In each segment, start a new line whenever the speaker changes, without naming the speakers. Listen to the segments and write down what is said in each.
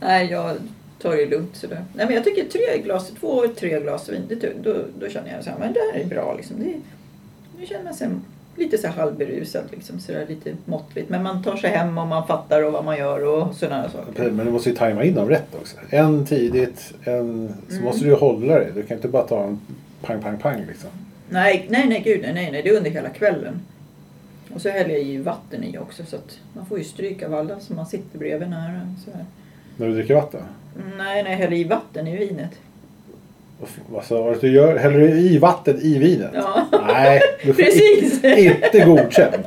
Nej, jag tar det lugnt sådär. Nej, men jag tycker tre glas, två, tre glas vin, det, ty- då, då känner jag så här, men det här är bra liksom. Det, nu känner man sig lite så här halvberusad liksom, sådär lite måttligt. Men man tar sig hem och man fattar och vad man gör och sådana saker.
Men du måste ju tajma in dem rätt också. En tidigt, en... så
Mm.
måste du ju hålla det. Du kan inte bara ta en pang, pang, pang liksom.
Nej, nej, nej, gud nej, nej, nej, det är under hela kvällen. Och så häller jag ju vatten i också så att man får ju stryk av alla som man sitter bredvid nära. Så här.
När du dricker vatten.
Nej, nej, jag häller i vatten i vinet.
Och f- Vad sa du att du gör? Häller du i vatten i vinet?
Ja.
Nej, du får
Precis.
i- inte godkänt.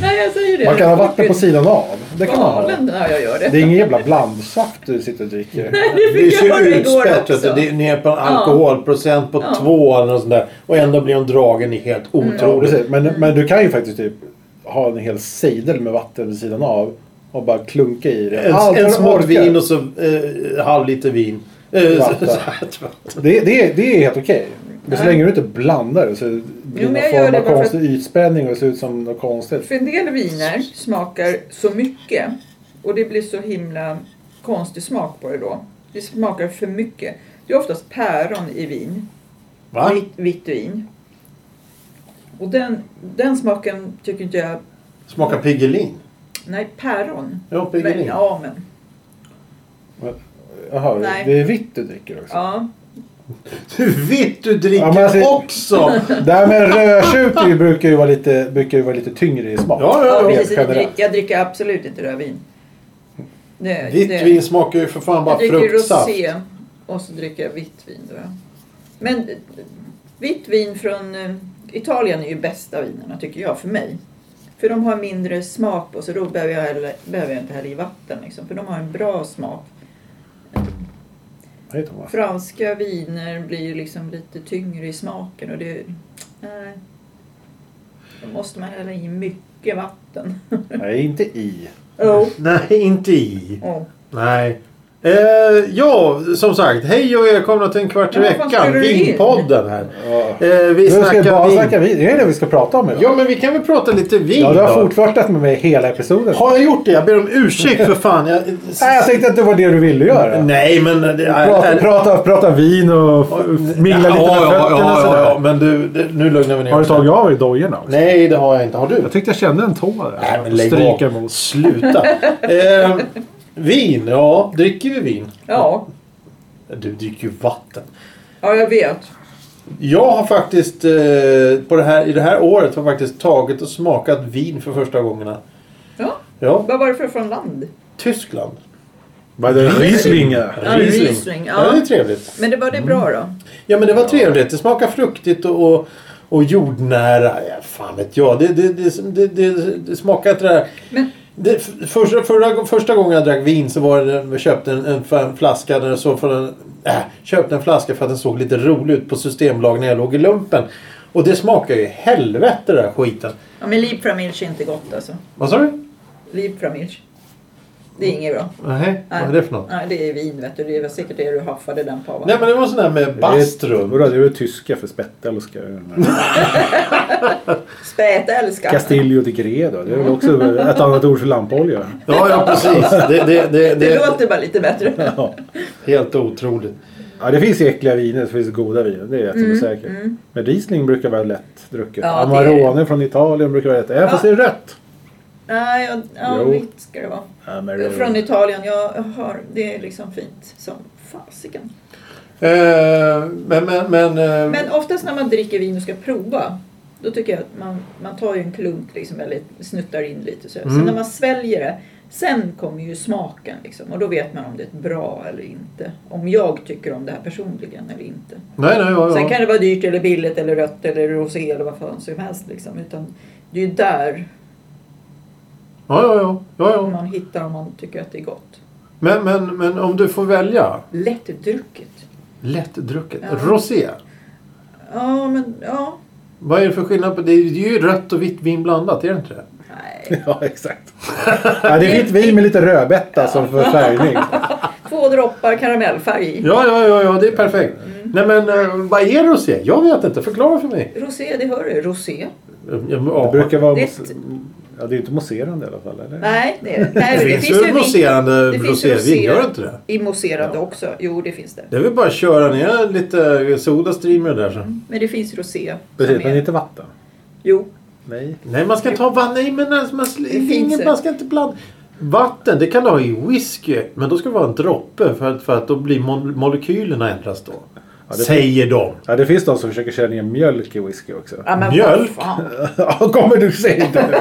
Nej, jag säger det.
Man kan ha vatten på sidan av. Det kan man ha.
Galen, ja, jag gör det.
Det är ingen jävla blandsaft du sitter och dricker.
fick
Det
jag
är så
höra igår
utspätt. vet
också.
du. Det är ner på en alkoholprocent på
Ja. Mm.
två eller något sånt där. Och ändå blir de dragen i helt
Ja,
otroligt.
precis. Men, men du kan ju faktiskt typ ha en hel sejdel med vatten vid sidan av och bara klunka i det.
En,
Allt
en
du
smort
orkar.
vin och så eh, halv liter vin. Eh,
Vatten.
så- så-
Det, det, det är helt okej. Men så
Nej.
länge du inte blandar det så blir
men
det
jag
någon
gör
form
det bara
av
för
konstig ytspänning och det ser ut som något konstigt.
För en del viner smakar så mycket och det blir så himla konstig smak på det då. Det smakar för mycket. Det är oftast päron i vin.
Va?
Vitt, vitt vin. Och den, den smaken tycker inte jag...
Smakar Piggelin.
Nej, päron.
Ja,
Men,
Piggelin.
ja, men.
Jaha,
Nej.
det är vitt du dricker också.
Ja.
Du vitt du dricker
Ja, men alltså-
också! Ja,
Det här med rödtjuter brukar ju vara lite, brukar ju vara lite tyngre i smak.
ja,
ja, ja.
precis. Jag,
generellt.
dricker, jag dricker absolut inte rödvin. Det-
Vitt
det-
vin smakar ju för fan bara
Jag dricker
fruktsaft.
rosé och så dricker jag vitt vin. Då. ja. Men eh, vitt vin från eh, Italien är ju bästa vinerna tycker jag för mig. För de har mindre smak på så då behöver jag, heller, behöver jag inte hälla i vatten. Liksom, för de har en bra smak.
Hej Thomas.
Franska viner blir ju liksom lite tyngre i smaken och det... Nej. Då måste man hälla i mycket vatten.
Nej, inte i.
oh.
Nej, inte i.
Oh.
Nej. Eh, ja, som sagt. Hej och välkomna till en kvart i
Ja, vad fan
veckan.
spelar du in?
Vinpodden här.
Ja.
Eh, vi
Nu ska vi bara
snackar vin.
snacka vin. Det är det vi ska prata om idag.
Ja, men vi kan väl prata lite vin
Ja, du har
då?
fortfartat med mig hela episoden.
Har jag gjort det? Jag ber om ursäkt för fan. Jag...
Nej, jag tänkte att det var det du ville göra.
Nej, men... Det,
Prata, prata, prata vin och f- mingla lite med
ja, ja,
fötterna och
ja,
sådär.
ja, men du, det, nu lugnar vi ner
Har du
oss.
tagit av dig dojorna också?
Nej, det har jag inte. Har du?
Jag tyckte jag kände en tå där.
Nej, men lägg
Stryka
av.
emot.
Sluta. eh, vin, ja. Dricker vi vin?
Ja.
Du dricker ju vatten.
ja, jag vet.
Jag har faktiskt eh, på det här, i det här året har jag faktiskt tagit och smakat vin för första gångerna.
Ja.
Ja,
Vad var det för från land?
Tyskland.
Vad är det? Rieslinge?
Ja, Riesling, ja.
ja det är trevligt.
Men det var det bra då?
Ja men det var trevligt. Det smakar fruktigt och, och, och jordnära. Ja, fan vet jag. Det, det, det, det, det, det smakar inte det där.
Men-
Det, f- första, förra, första gången jag drack vin så var det, jag köpte en, en, en flaska där det såg för en, äh, köpte en flaska för att den såg lite rolig ut på Systembolaget när jag låg i lumpen. Och det smakar ju helvete den där skiten.
Ja, men Liebframilch är inte gott alltså.
Vad sa du?
Liebframilch. Det är inget bra.
Nej, Mm. vad är det för något?
Nej, det är vin vet du. Det var säkert det du haffade den på va?
Nej men det var sån där med bastrum.
Vadå, det är väl tyska för spettelska?
Spätälskar.
Castillo di Gredo. Det är väl också ett annat ord för lampolja.
Ja, ja precis. Det, det, det,
Det
det
låter bara lite bättre.
Ja.
helt otroligt.
Ja, det finns ju äckliga viner, det finns goda viner. Det vet jag säkert. Men Riesling brukar vara lätt drucket.
Mm. Ja, det är det.
Amarone från Italien brukar vara lätt. Även fast det är rött.
Nej, ja, ja
Jo.
vitt ska det vara. Från Italien. Jag har, det är liksom fint som fasiken.
Eh, men, men, men, eh,
Men oftast när man dricker vin och ska prova. Då tycker jag att man, man tar ju en klunk liksom, eller snuttar in lite. Så.
Mm.
Sen när man sväljer det. Sen kommer ju smaken liksom, och då vet man om det är ett bra eller inte. Om jag tycker om det här personligen eller inte.
Nej, nej, ja, ja.
Sen kan det vara dyrt eller billigt eller rött eller rosé eller vad fan som helst. Liksom. Utan det är ju där
Ja, ja, ja. ja, ja.
man hittar om man tycker att det är gott.
Men, men, men om du får välja.
Lättdrucket.
Lättdrucket.
Ja.
Rosé.
Ja, men ja.
Vad är det för skillnad på det? är ju- Det är ju rött och vitt vin blandat, är det inte det?
Nej.
Ja, exakt. Ja, det är vitt vin med lite rödbetta som för färgning.
Två droppar karamellfärg i.
Ja, ja, ja, ja det är perfekt.
Mm.
Nej men eh, vad är rosé? Jag vet inte, förklara för mig.
Rosé, det hör du. Rosé.
Eh, Ja,
Det brukar vara...
Det är
mos- Ja, det är inte mousserande i alla fall, eller?
Nej, det, är- nej,
Det finns ju
vin-
mousserande
det finns ju
rosévin,
rosé-
gör det inte det?
I mousserande också. Jo, det finns det.
Det är väl bara att köra ner lite sodastreamer där så.
Men det finns rosé. som
Precis,
är-
men inte vatten.
Jo,
Nej.
Nej, man ska ta vatten. Nej, men alltså, man,
finns
ingen,
det.
man ska inte blanda. Vatten, det kan du ha i whisky. Men då ska det vara en droppe för att, för att då blir mol- molekylerna ändras då.
det-
Säger de.
Ja, det finns de som försöker köra ner mjölk i whisky också.
ja, men
Mjölk?
vad fan.
Ja, kommer du säga inte nu?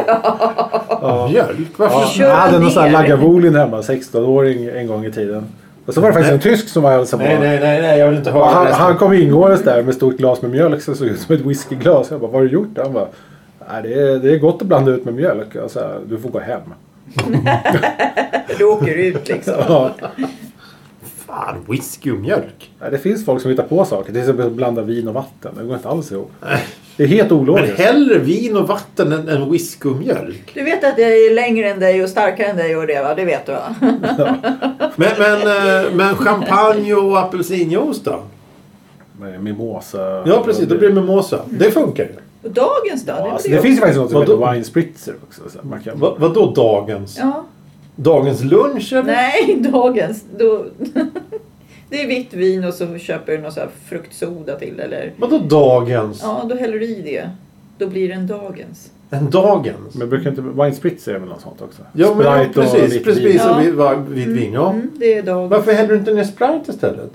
Mjölk? Varför?
Kör
Jag hade någon
ner.
sån här Lagavulin hemma, 16-åring en gång i tiden. Och så var det faktiskt en tysk som var hälsade på.
Nej, nej, nej, nej, jag vill inte höra
Och han,
resten.
han kom ingåendes där med stort glas med mjölk som såg ut som ett whiskyglas. Jag bara, vad har du gjort? Han bara, nej, det, är, det är gott att blanda ut med mjölk. Jag sa, du får gå hem.
Då åker du ut liksom.
Ja,
Fan, whisky och mjölk.
det finns folk som hittar på saker. Till exempel att blanda vin och vatten. Det går inte alls ihop. Det är helt
Men
ologiskt.
hellre vin och vatten än, än whisky och mjölk.
Du vet att jag är längre än dig och starkare än dig och det va? Det vet du va?
Men, men, eh, men champagne och apelsinjuice då?
Med Mimosa.
Ja, precis. Då blir det mimosa. Det funkar ju.
Och dagens då?
Ja,
det
alltså,
blir
det finns ju faktiskt något som
Vadå?
heter wine spritzer också. Så man kan...
Va, vadå dagens?
Ja.
Dagens lunch eller?
Nej, dagens. Då... det är vitt vin och så köper du någon så här fruktsoda till eller...
Vadå dagens?
Ja, då häller du i det. Då blir det en dagens.
En dagens?
Men brukar inte wine spritzer är väl något sånt också?
Ja, men ja,
och
precis.
vitt
Precis
vin.
Ja.
som vid, va- vid vin. Ja.
Mm, det är dagens.
Varför häller du inte ner Sprite istället?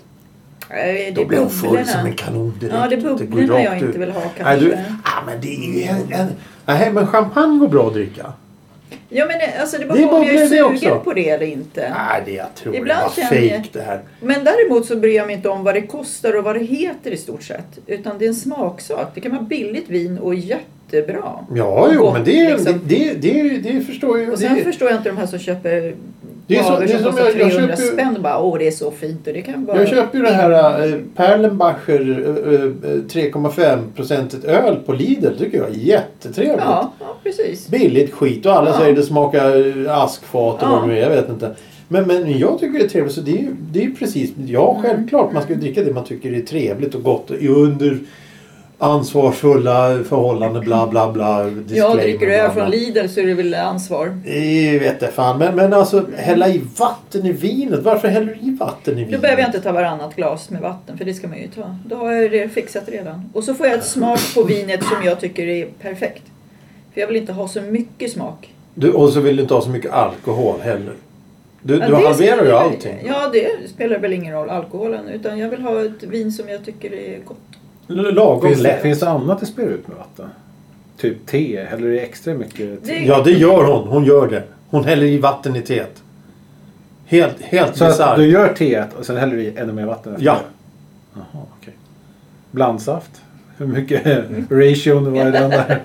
Nej, det
Då
är
blir hon full
bubblorna.
som en kanon direkt.
Ja, det är
går
bubblorna
rakt
jag inte
ut.
vill ha kanske.
Nej, du, ah, men det är ju en, en, nej, men champagne går bra att dricka.
Ja, men eh, alltså det beror
Det är
på om
bara
jag är
det också.
sugen på det eller inte.
Nej, det jag tror
Ibland
det var
känner jag-
fejk det här.
Men däremot så bryr jag mig inte om vad det kostar och vad det heter i stort sett. Utan det är en smaksak. Det kan vara billigt vin och jättebra.
Ja, jo,
Gott,
men det, är-
liksom.
det, det, det, det förstår ju.
Och sen
Mm. det,
förstår jag inte de här som köper
Det är så-
varor
det är
som
som
kostar
jag- jag
300
köper ju-
spänn och bara åh det är så fint och det kan vara...
jag köper ju det här äh, Perlenbacher eh, eh, 3,5-procentigt öl på Lidl. Det tycker jag är jättetrevligt.
Ja, ja precis.
billigt skit och alla
Ja.
säger det smakar eh, askfat och
Ja.
vad det nu är. Jag vet inte. Men, men jag tycker det är trevligt. Så det är ju det är ju precis.
Mm.
Ja, självklart. Man ska ju dricka det man tycker är trevligt och gott. Och under ansvarsfulla förhållanden. Bla, bla,
Ja,
bla. disclaimer,
dricker du
bla,
öl
bla.
från Lidl så är det väl ansvar.
Eh, vet jag fan. Men, men alltså hälla i vatten i vinet. Varför häller du i vatten i vinet?
Då behöver jag inte ta varannat glas med vatten för det ska man ju ta. Då har jag det fixat redan. Och så får jag ett smak på vinet som jag tycker är perfekt. För jag vill inte ha så mycket smak.
Du, och så vill du inte ha så mycket alkohol heller. Du,
Ja,
du
det
halverar ju
spelar-
allting.
Ja, det spelar väl ingen roll, alkoholen. Utan jag vill ha ett vin som jag tycker är gott.
L- Lagom
Finns, det,
lätt.
finns det annat i spirit med vatten? Typ te? Häller det extra mycket?
Det-
Ja, det gör hon. Hon gör det. Hon häller i vatten i teet. Helt, helt
Så att
bisarrt.
du gör teet och sen häller du i ännu mer vatten? efter
Ja.
det? Jaha, okej. Blandsaft? Hur mycket ration var i den där?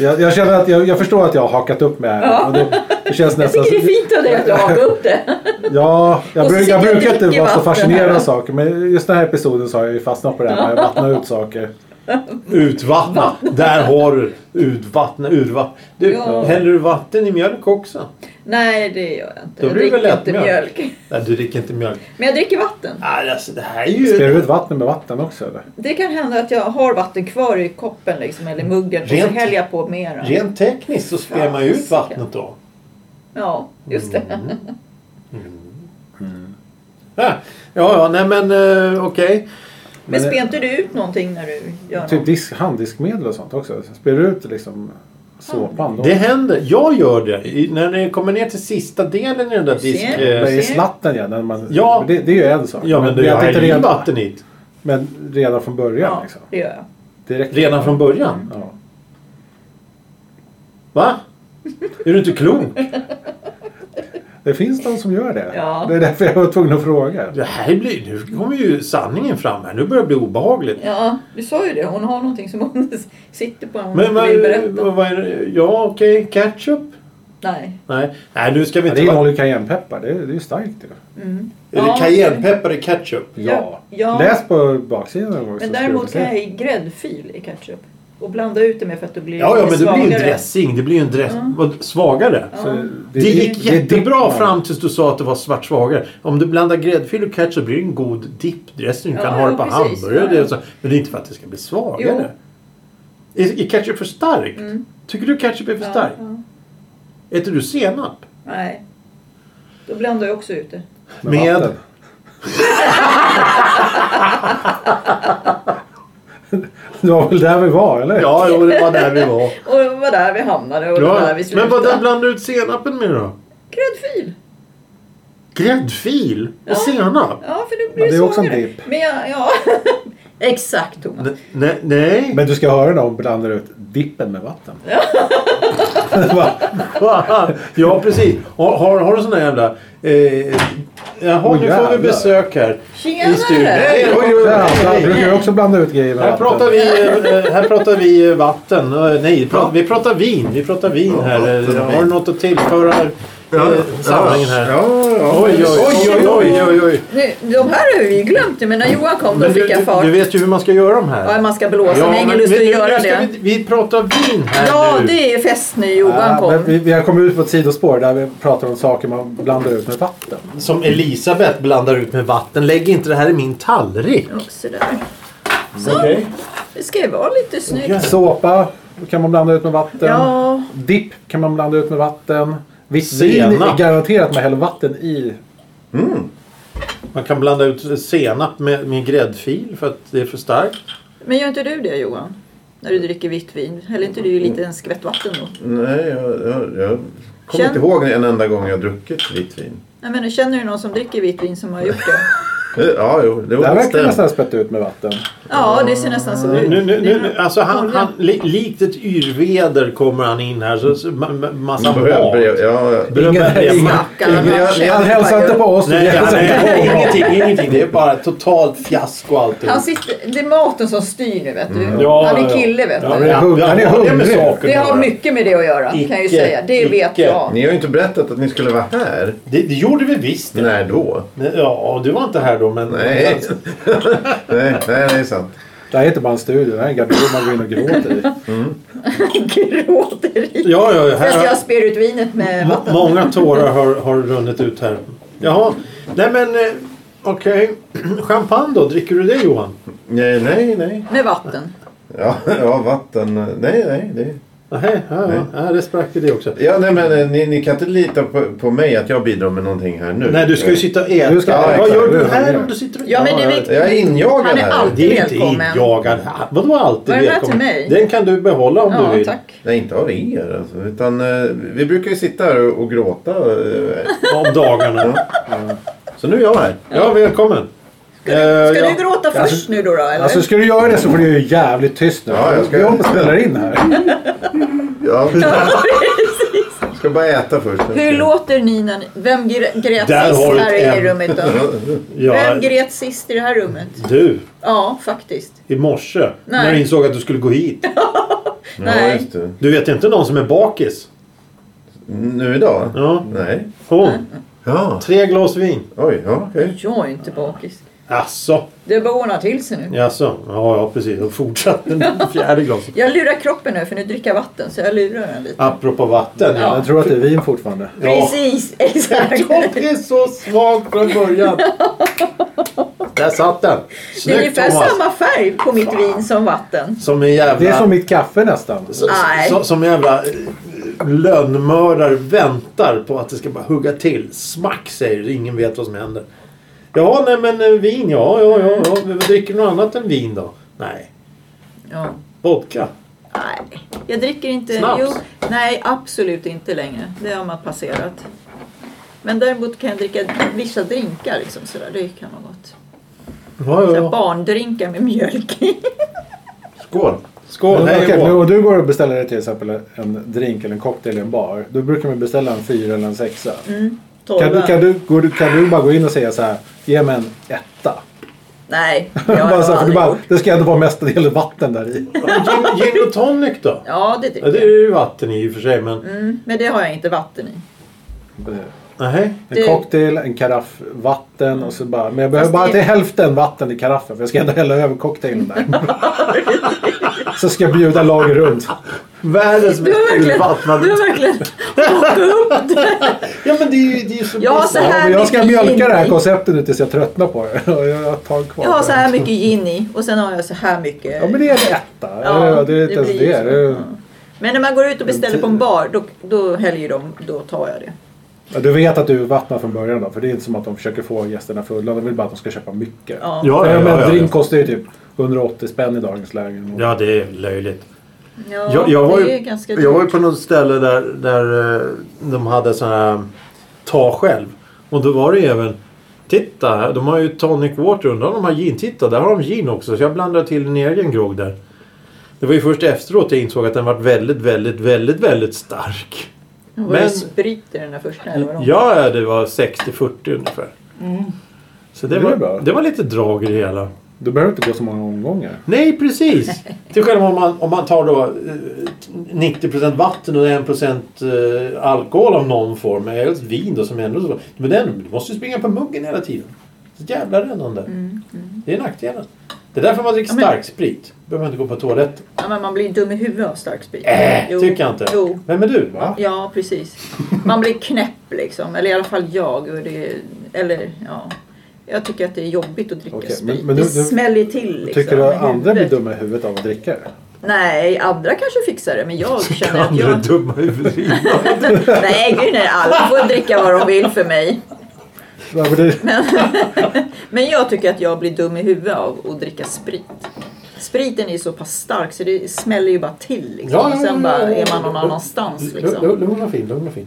Jag, jag känner att jag, jag förstår att jag har hakat upp mig här. Och det, det känns
Jag
nästan...
tycker det är fint av dig att du hakar upp det.
Ja, jag,
Och så
bruk, jag
sitter jag och
brukar inte
dricker
vara så
vatten
fascinerad av
här.
saker. Men just den här episoden så har jag ju fastnat på det här med att vattna ut saker.
Utvattna. Där har du. Utvattna, urvattna. Du,
Ja.
häller du vatten i mjölk också?
Nej, det gör jag inte.
Då
jag
blir det väl
dricker inte
lättmjölk.
mjölk.
Nej, du dricker inte mjölk.
Men jag dricker vatten.
Nej, alltså det här är ju...
Spelar du ut vatten med vatten också eller?
Det kan hända att jag har vatten kvar i koppen liksom, eller muggen och så
Rent-
häller jag på mera.
Rent tekniskt så spär man ju ut
Fasiken.
vattnet då.
Ja, just det.
Mm. Ja, ja, ja nej men eh, okej.
Men
det-
spär inte du ut någonting när du gör
Typ
något?
disk, handdiskmedel och sånt också. Spelar du ut liksom såpan då?
Det händer. Jag gör det. I, när ni kommer ner till sista delen i den där
Ser.
disk...
Men
Eh,
i slatten ja, när man,
Ja.
Det, det är ju en sak.
ja, men du, jag
jag tänkte
häller i
redan,
vatten i.
men redan från början
Ja,
liksom.
det gör jag.
Direkt.
Redan från början.
Ja.
Va? Är du inte klok?
Det finns de som gör det.
Ja.
Det är därför jag var tvungen att fråga.
Det här blir, nu kommer ju sanningen fram här. Nu börjar det bli obehagligt.
Ja, du sa ju det. Hon har någonting som hon sitter på hon
Men
inte
vad,
vill berätta.
vad, vad är det? Ja, okej. Ketchup?
Nej.
Nej. Nej, nu ska vi
Ja, det
inte... vara-
innehåller ju cayennepeppar. Det, är- det är ju starkt ju.
Mm.
är det
Ja,
cayennepeppar i ketchup?
Ja. Ja.
Läs på baksidan någon gång.
Men
så
däremot
ska
kan
du
jag
se.
i gräddfil i ketchup. Och blanda ut det med för att då blir det
Ja, ja
lite
men det blir ju en
svagare.
dressing. Det blir ju en dress...
Mm.
vad, Svagare.
Ja.
Så
Det,
är
gick
dipp- det är dipp
jättebra
bara.
fram tills du sa att det var svart svagare. Om du blandar gräddfil och ketchup blir det en god dippdressing. Du
Ja,
kan ha det på
jo, precis.
hamburgare. och det
Ja.
och så. Men det är inte för att det ska bli svagare. Är, är ketchup för starkt?
Mm.
Tycker du ketchup är för
Ja,
starkt?
ja.
Äter du senap?
Nej. Då blandar jag också ut det.
Med-
vatten. det var väl där vi var, eller?
Ja, jo, det var där vi var.
Och det var där vi hamnade och det var
Ja.
där vi slutade.
Men vad där blandar du ut senapen med då?
Gräddfil!
Gräddfil och
Ja.
senap?
Ja, för då blir
Men
det
det är också en
svagare.
dipp.
Men jag, ja. Exakt Thomas.
Ne- Nej, nej.
Men du ska höra när hon blandar ut dippen med vatten. Va?
ja, precis. Har, har, har du sån där jävla... Eh, jaha,
Åh,
nu får vi
jävlar.
besök här.
Tjenare!
I studion. Nej, oj, oj,
Där,
oj,
han
oj.
brukar ju också blanda ut grejer med
Här pratar, vi, eh, här pratar vi eh, vatten. Eh, Nej, pra- vi pratar vin. Vi pratar vin här. Eh, Har du något att tillföra
Ja,
eh, samlingen här?
Ja, ja.
Oj, oj, oj, oj, oj, oj.
Nu, de här har vi ju glömt nu, men när Johan kom då
Men du,
fick jag
du,
fart.
du vet ju hur man ska göra de
Ja,
här.
man ska blåsa. jag har ingen
men
lust att
vi-
göra
nu ska
det.
Vi, vi pratar vin här
Ja,
nu.
det är fest nu. Johan
Ja, men
kom.
vi, vi har kommit ut på ett sidospår där vi pratar om saker man blandar ut med vatten.
Som Elisabeth blandar ut med vatten. Lägg inte det här i min tallrik.
Ja, så där. Så, det ska ju vara lite snyggt.
Såpa kan man blanda ut med vatten.
Ja,
Dipp kan man blanda ut med vatten. Visst,
Senap.
vin är garanterat man häller vatten i.
Man kan blanda ut senap med, med gräddfil för att det är för starkt.
men gör inte du det Johan? När du dricker vitt vin. Häller inte du lite en skvätt vatten då?
Nej, jag, jag, jag kommer
Känn-
inte ihåg en enda gång jag druckit vitt vin.
Nej, men känner du någon som dricker vitt vin som har gjort det?
Eh, Ja, jo, det
Det här
var
verkar
stämt.
nästan spett ut med vatten.
Ja, det ser nästan så
Nu,
ut.
nu, nu,
Det är-
nu, alltså han, han, li, likt ett yrväder kommer han in här. Så, så, ma, ma, massa
Man
mat.
behöver- Ja,
Bröd med
Ingen-
lemmar.
Stackarn,
Men jag-
han
jag
Han
känner
hälsar
bara-
inte på oss.
Nej,
han hälsar inte på
nej,
oss.
ingenting, ingenting. Det är bara totalt fiasko alltihop.
Han sitter, det är maten som styr nu vet du.
Mm. Ja,
Han är
ja,
kille vet
ja.
du.
är hungrig.
Ja,
Han är
det har med
hungrig.
saken
Det
att
har
göra.
mycket med det att göra kan jag ju
Icke,
säga. Det vet
icke.
jag.
ni har ju inte berättat att ni skulle vara här.
Det, det gjorde vi visst.
När då?
Nej, Ja, du var inte här då men...
Nej. nej, nej, det är sant.
Det här är inte bara en studio. Det här är en garderob man går in och gråter i.
Gråter i.
Ja, ja, ja,
Sen ska
här
jag spyr ut vinet med
har,
vatten.
många tårar har, har runnit ut här. Jaha, nej men eh, okej. Champagne då? Dricker du det Johan?
Nej, nej, nej.
Med vatten.
Ja, ja vatten. Nej, nej. Det...
Nej, ja, ja, ja, det sprack i det också.
Ja, nej, men eh, ni, ni kan inte lita på, på mig att jag bidrar med någonting här nu.
Nej, du ska ju sitta och äta.
Du ska-
Ja,
Vad
exakt.
gör du
Du-
här om du sitter och
Ja, men det är
jag-
viktigt.
Jag är injagad
Han är
här.
alltid
Det är inte
välkommen.
injagad. Ah, Vadå alltid
Var den här
välkommen?
till mig?
Den kan du behålla om du
Ja,
vill.
tack.
Nej, inte av er. Alltså, utan, eh, vi brukar ju sitta här och, och gråta. eh,
Om dagarna.
Så nu är jag här.
Ja, välkommen. Eh, Ska
Ska du gråta först nu då? då eller?
Alltså ska du göra det så får du ju jävligt tyst nu.
Ja, jag ska-
Vi håller på och spelar in här.
Ja, Jag ska bara äta först.
Hur låter ni när ni... Vem gr- grät
Där
sist
har du
här
ett
i
M.
rummet då? Vem
Ja,
grät sist i det här rummet?
du.
Ja, faktiskt.
I morse. När jag insåg att du skulle gå hit.
Ja,
Nej.
just det.
Du vet inte någon som är bakis?
Nu idag?
Ja.
Nej.
Hon.
Ja,
Tre glas vin.
oj, ja, okej.
Jag är inte bakis.
Asså.
Det börjar ordna till sig nu.
Jaså? Ja, ja precis. Och fortsatte med fjärde glaset.
Jag lurar kroppen nu för nu dricker jag vatten så jag lurar den lite.
Apropå vatten.
Ja.
Jag tror att det är vin fortfarande.
Precis, exakt.
är så svag från början. Där satt den.
Det är
Snyggt
ungefär
Thomas.
samma färg på mitt vin som vatten.
Som en jävla...
Det är som mitt kaffe nästan.
Nej.
Som, som en jävla eh, lönnmördare väntar på att det ska bara hugga till. Smack säger det. Ingen vet vad som händer. Ja, nej men eh, vin. Ja, ja, ja. ja.
Mm.
Men Dricker du något annat än vin då? Nej.
Ja.
Vodka.
Nej, jag dricker inte.
Snaps?
Jo, nej, absolut inte längre. Det har man passerat. Men däremot kan jag dricka vissa drinkar. Liksom, sådär. Det kan vara gott.
Ja, ja,
Så
ja.
barndrinkar med mjölk i.
Skål.
Skål.
Men
Hej
okej,
och
men
hå.
om du går och beställer dig till exempel en drink eller en cocktail i en bar. Då brukar man beställa en fyra eller en sexa. Kan, du-
Torra.
kan, du, går du, kan du bara gå in och säga så här. Ge mig en etta.
Nej, det har
bara
jag
så här, för du
aldrig
bara,
gjort.
det ska ändå vara mestadels vatten där i.
Gin- Gin och tonic då?
Ja, det
Ja,
dricker
det är
jag.
ju vatten i och för sig men...
Mm, men det har jag inte vatten i.
Nej.
Du-
En cocktail, en karaff vatten och så bara. Men jag
Fast
behöver bara
det-
till hälften vatten i karaffen. För jag ska ändå hälla över cocktailen där. Så ska jag bjuda lager runt.
Världens
Du har
mest
verkligen, du
urvattnade...
har verkligen åkt upp det.
Ja men det är ju, det är ju så
Ja, så
bisarrt.
Ja, men jag ska
mycket
mjölka det här
gin i.
konceptet nu tills jag tröttnar på det. Och jag har ett tag kvar.
Jag har så här mycket gin i och sen har jag så här mycket.
Ja men det är en etta. Ja, det är inte ens
blir ju
det.
så.
det är,
Mm. Men när man går ut och beställer på en bar då, då häller de, då tar jag det.
ja, du vet att du vattnar från början då? För det är inte som att de försöker få gästerna fulla. De vill bara att de ska köpa mycket.
Ja.
Ja,
Ja, ja,
men
ja, ja,
drink
ja.
kostar ju typ 180 spänn i dagens läge.
ja, det är löjligt.
Ja,
Jag, jag, var
det är
ju,
ganska
jag var ju
dyrt.
på något ställe där, där eh, de hade sån här eh, ta själv. Och då var det ju även Titta, här, de har ju tonic water. Undrar om de har gin. Titta, där har de gin också. Så jag blandade till en egen grogg där. Det var ju först efteråt jag insåg att den var väldigt, väldigt, väldigt, väldigt stark.
Var det
men-
sprit i den där första eller vadå?
Ja, ja, det var 60-40 ungefär.
Mm.
Så det,
Det är bra.
var, det var lite drag i det hela.
Du behöver inte gå så många omgångar.
Nej, precis! Till skillnad om man, om man tar då eh, 90% vatten och 1% eh, alkohol av någon form. Men helst vin då som ändå... så- Men den du måste ju springa på muggen hela tiden. Så jävla rännande. Det är nackdelen. Det är därför man dricker
Mm, Ja, men-
starksprit. behöver man inte gå på toaletten.
Ja, men man blir ju dum i huvudet av starksprit.
Äh,
Jo.
tycker jag inte.
Jo.
Vem är du?
Va?
Ja, precis. Man blir knäpp liksom. Eller i alla fall jag. Och det, eller ja. Jag tycker att det är jobbigt att dricka
Okej,
sprit.
men- men
det
du- du-
smäller till liksom.
Tycker du
i
att andra blir
huvudet.
dumma i huvudet av att dricka det?
Nej, andra kanske fixar det. Men jag känner att
Andra
jag...
dumma huvudvin.
Nej, gud nej. Alla får dricka vad de vill för mig.
Ja, men det-
Men jag tycker att jag blir dum i huvudet av att dricka sprit. Spriten är ju så pass stark så det smäller ju bara till liksom.
Ja, ja,
och sen
ja, ja,
bara
ja.
är man någon annanstans liksom.
Lu- lu- Lugn och fin, lugn och fin.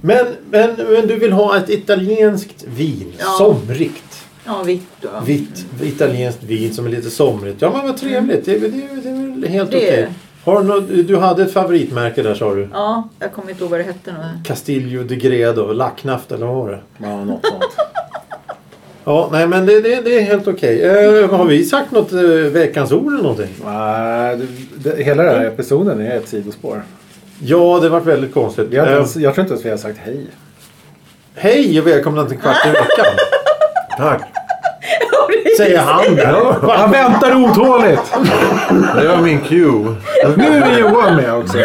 Men, men, men du vill ha ett italienskt vin.
Ja.
Somrigt.
Ja, vitt då.
Vitt italienskt vin som är lite somrigt. Ja men vad trevligt. Det, är- det, är- det är väl helt
Det är
okej. Har du, nå- du hade ett favoritmärke där sa du.
Ja, jag kommer inte ihåg vad det hette nu.
Castillo de Gredo. Lacknaft eller vad var det?
ja, något sånt.
Ja nej men det, det, det är helt okej. Eh, har vi sagt något eh, veckans ord eller någonting?
Nej, det- det- hela den här episoden är ett sidospår.
Ja det var väldigt konstigt.
Vi har inte
Eh,
ens, jag tror inte ens vi har sagt hej.
hej och välkomna till Kvart i veckan.
Tack.
Säger han.
Han väntar otåligt!
Det var min cue.
Nu är Johan med också.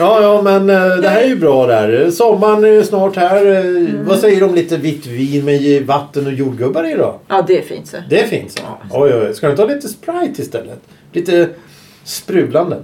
Ja, ja, men eh, det här är ju bra där. Sommaren är ju snart här. Eh,
Mm.
Vad säger du om lite vitt vin med vatten och jordgubbar i då?
Ja, det är fint så.
Det finns. Oj, oj, oj. Ska du inte ha lite Sprite istället? Lite sprudlande.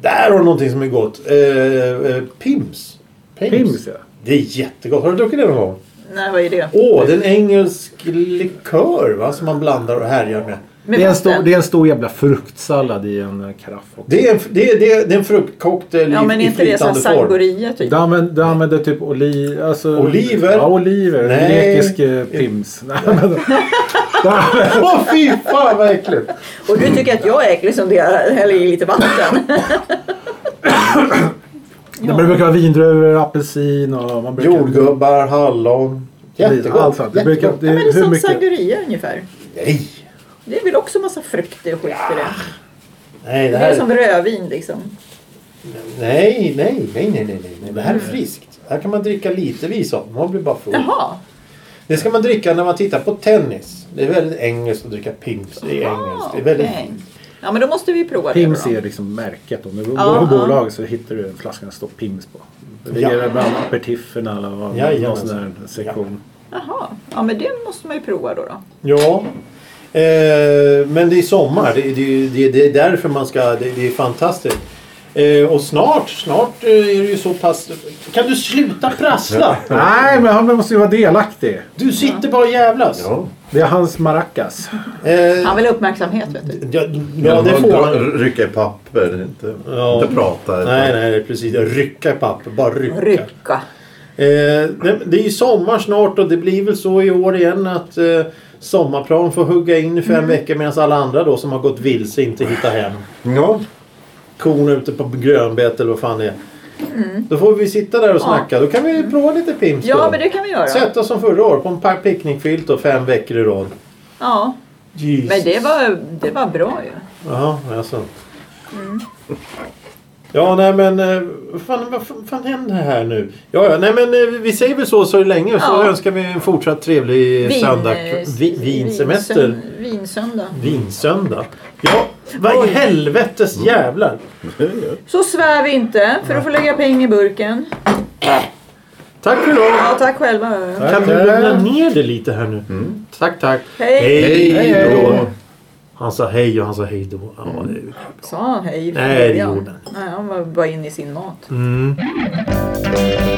Där har du någonting som är gott. Eh, eh, Pims. Pims.
Pims ja.
Det är jättegott. Har du druckit det någon gång?
Nej, vad är det?
Åh, det är en engelsk likör va, som man blandar och härjar med.
Med
Det är, en
vatten?
stor, det är en stor jävla fruktsallad i en eh, karaff. också.
Det är en, det är, det är, det är en fruktcocktail
Ja,
i,
men är
i
inte det så här
flytande form.
sangoria typ?
Du använder, du använder typ oli, alltså,
Oliver?
Ja, oliver.
Nej.
Grekisk eh, pims. Nej, men,
Åh, fy fan vad äckligt!
Och du tycker att jag är äcklig som det är- häller i lite vatten?
men det brukar vara vindruvor, apelsin och... Man brukar,
Jordgubbar, hallon.
Allt
Jättegott.
sånt. Det brukar,
Jättegott.
det,
Ja, men det är
hur
som
mycket?
sangoria ungefär.
Nej.
Det är väl också massa frukter och skit i det.
Nej, det
Det är
här...
som rödvin liksom.
Nej, nej, nej, nej, nej, nej, nej. Det här är friskt. Det här kan man dricka litevis av. Man blir bara full.
Mm. Jaha.
Det ska man dricka när man tittar på tennis. Det är väldigt engelskt att dricka Pims. Det är engelskt. Det är väldigt...
okej. Ja, men då måste vi prova
Pims
det
är
då.
liksom märket. Om du går
Ja,
på
ja.
bolag så hittar du en flaska det står Pims på. Det ligger
Ja.
bland aperitifferna eller vad, någon
Jajamensan.
sån där sektion.
Jaha. Ja, men det måste man ju prova då. då.
Ja. Eh, men det är sommar. Det, det, det, det är därför man ska... Det, det är fantastiskt. Eh, och snart, snart eh, är det ju så pass... Kan du sluta prassla?
Nej, men han måste ju vara delaktig.
Du sitter bara och jävlas.
Ja.
Det är hans maracas.
Eh,
Han vill ha uppmärksamhet vet du.
Ja, ja det får han. ju.
Rycka i papper. Inte,
Ja.
inte prata.
Nej, nej, det är precis. Rycka i papper. Bara rycka.
Rycka.
Eh, nej, det är ju sommar snart och det blir väl så i år igen att eh, sommarplan får hugga in i fem
Mm.
veckor medan alla andra då som har gått vilse inte hittar hem.
Ja.
Kon ute på grönbete eller vad fan det är. Då får vi sitta där och snacka. Då kan vi prova lite Pims
Mm. Ja,
då.
men det kan vi göra.
Sätta oss som förra året på en pa- picknickfilt och fem veckor i rad.
Ja,
Jesus.
men det var, det var bra ju.
Ja, alltså. Ja, nej men eh, vad fan, vad fan, fan händer här nu? Ja, ja, nej men eh, vi säger väl så så länge och så
Ja.
önskar vi en fortsatt trevlig
Vin-
söndag,
eh,
vi, vinssemester,
vinsön- Vinsöndag.
vinsöndag. Ja, vad i helvetes jävlar.
Så svär vi inte för att få lägga pengar i burken.
Tack för idag.
Ja, tack själva.
Kan du lugna ner dig lite här nu? Tack, tack.
Hej.
Hej då!
Han sa hej och han sa hej då. Ja, det,
Sa han hej från
Nej, det
början?
gjorde han
Nej, han var bara inne i sin mat.
Mm.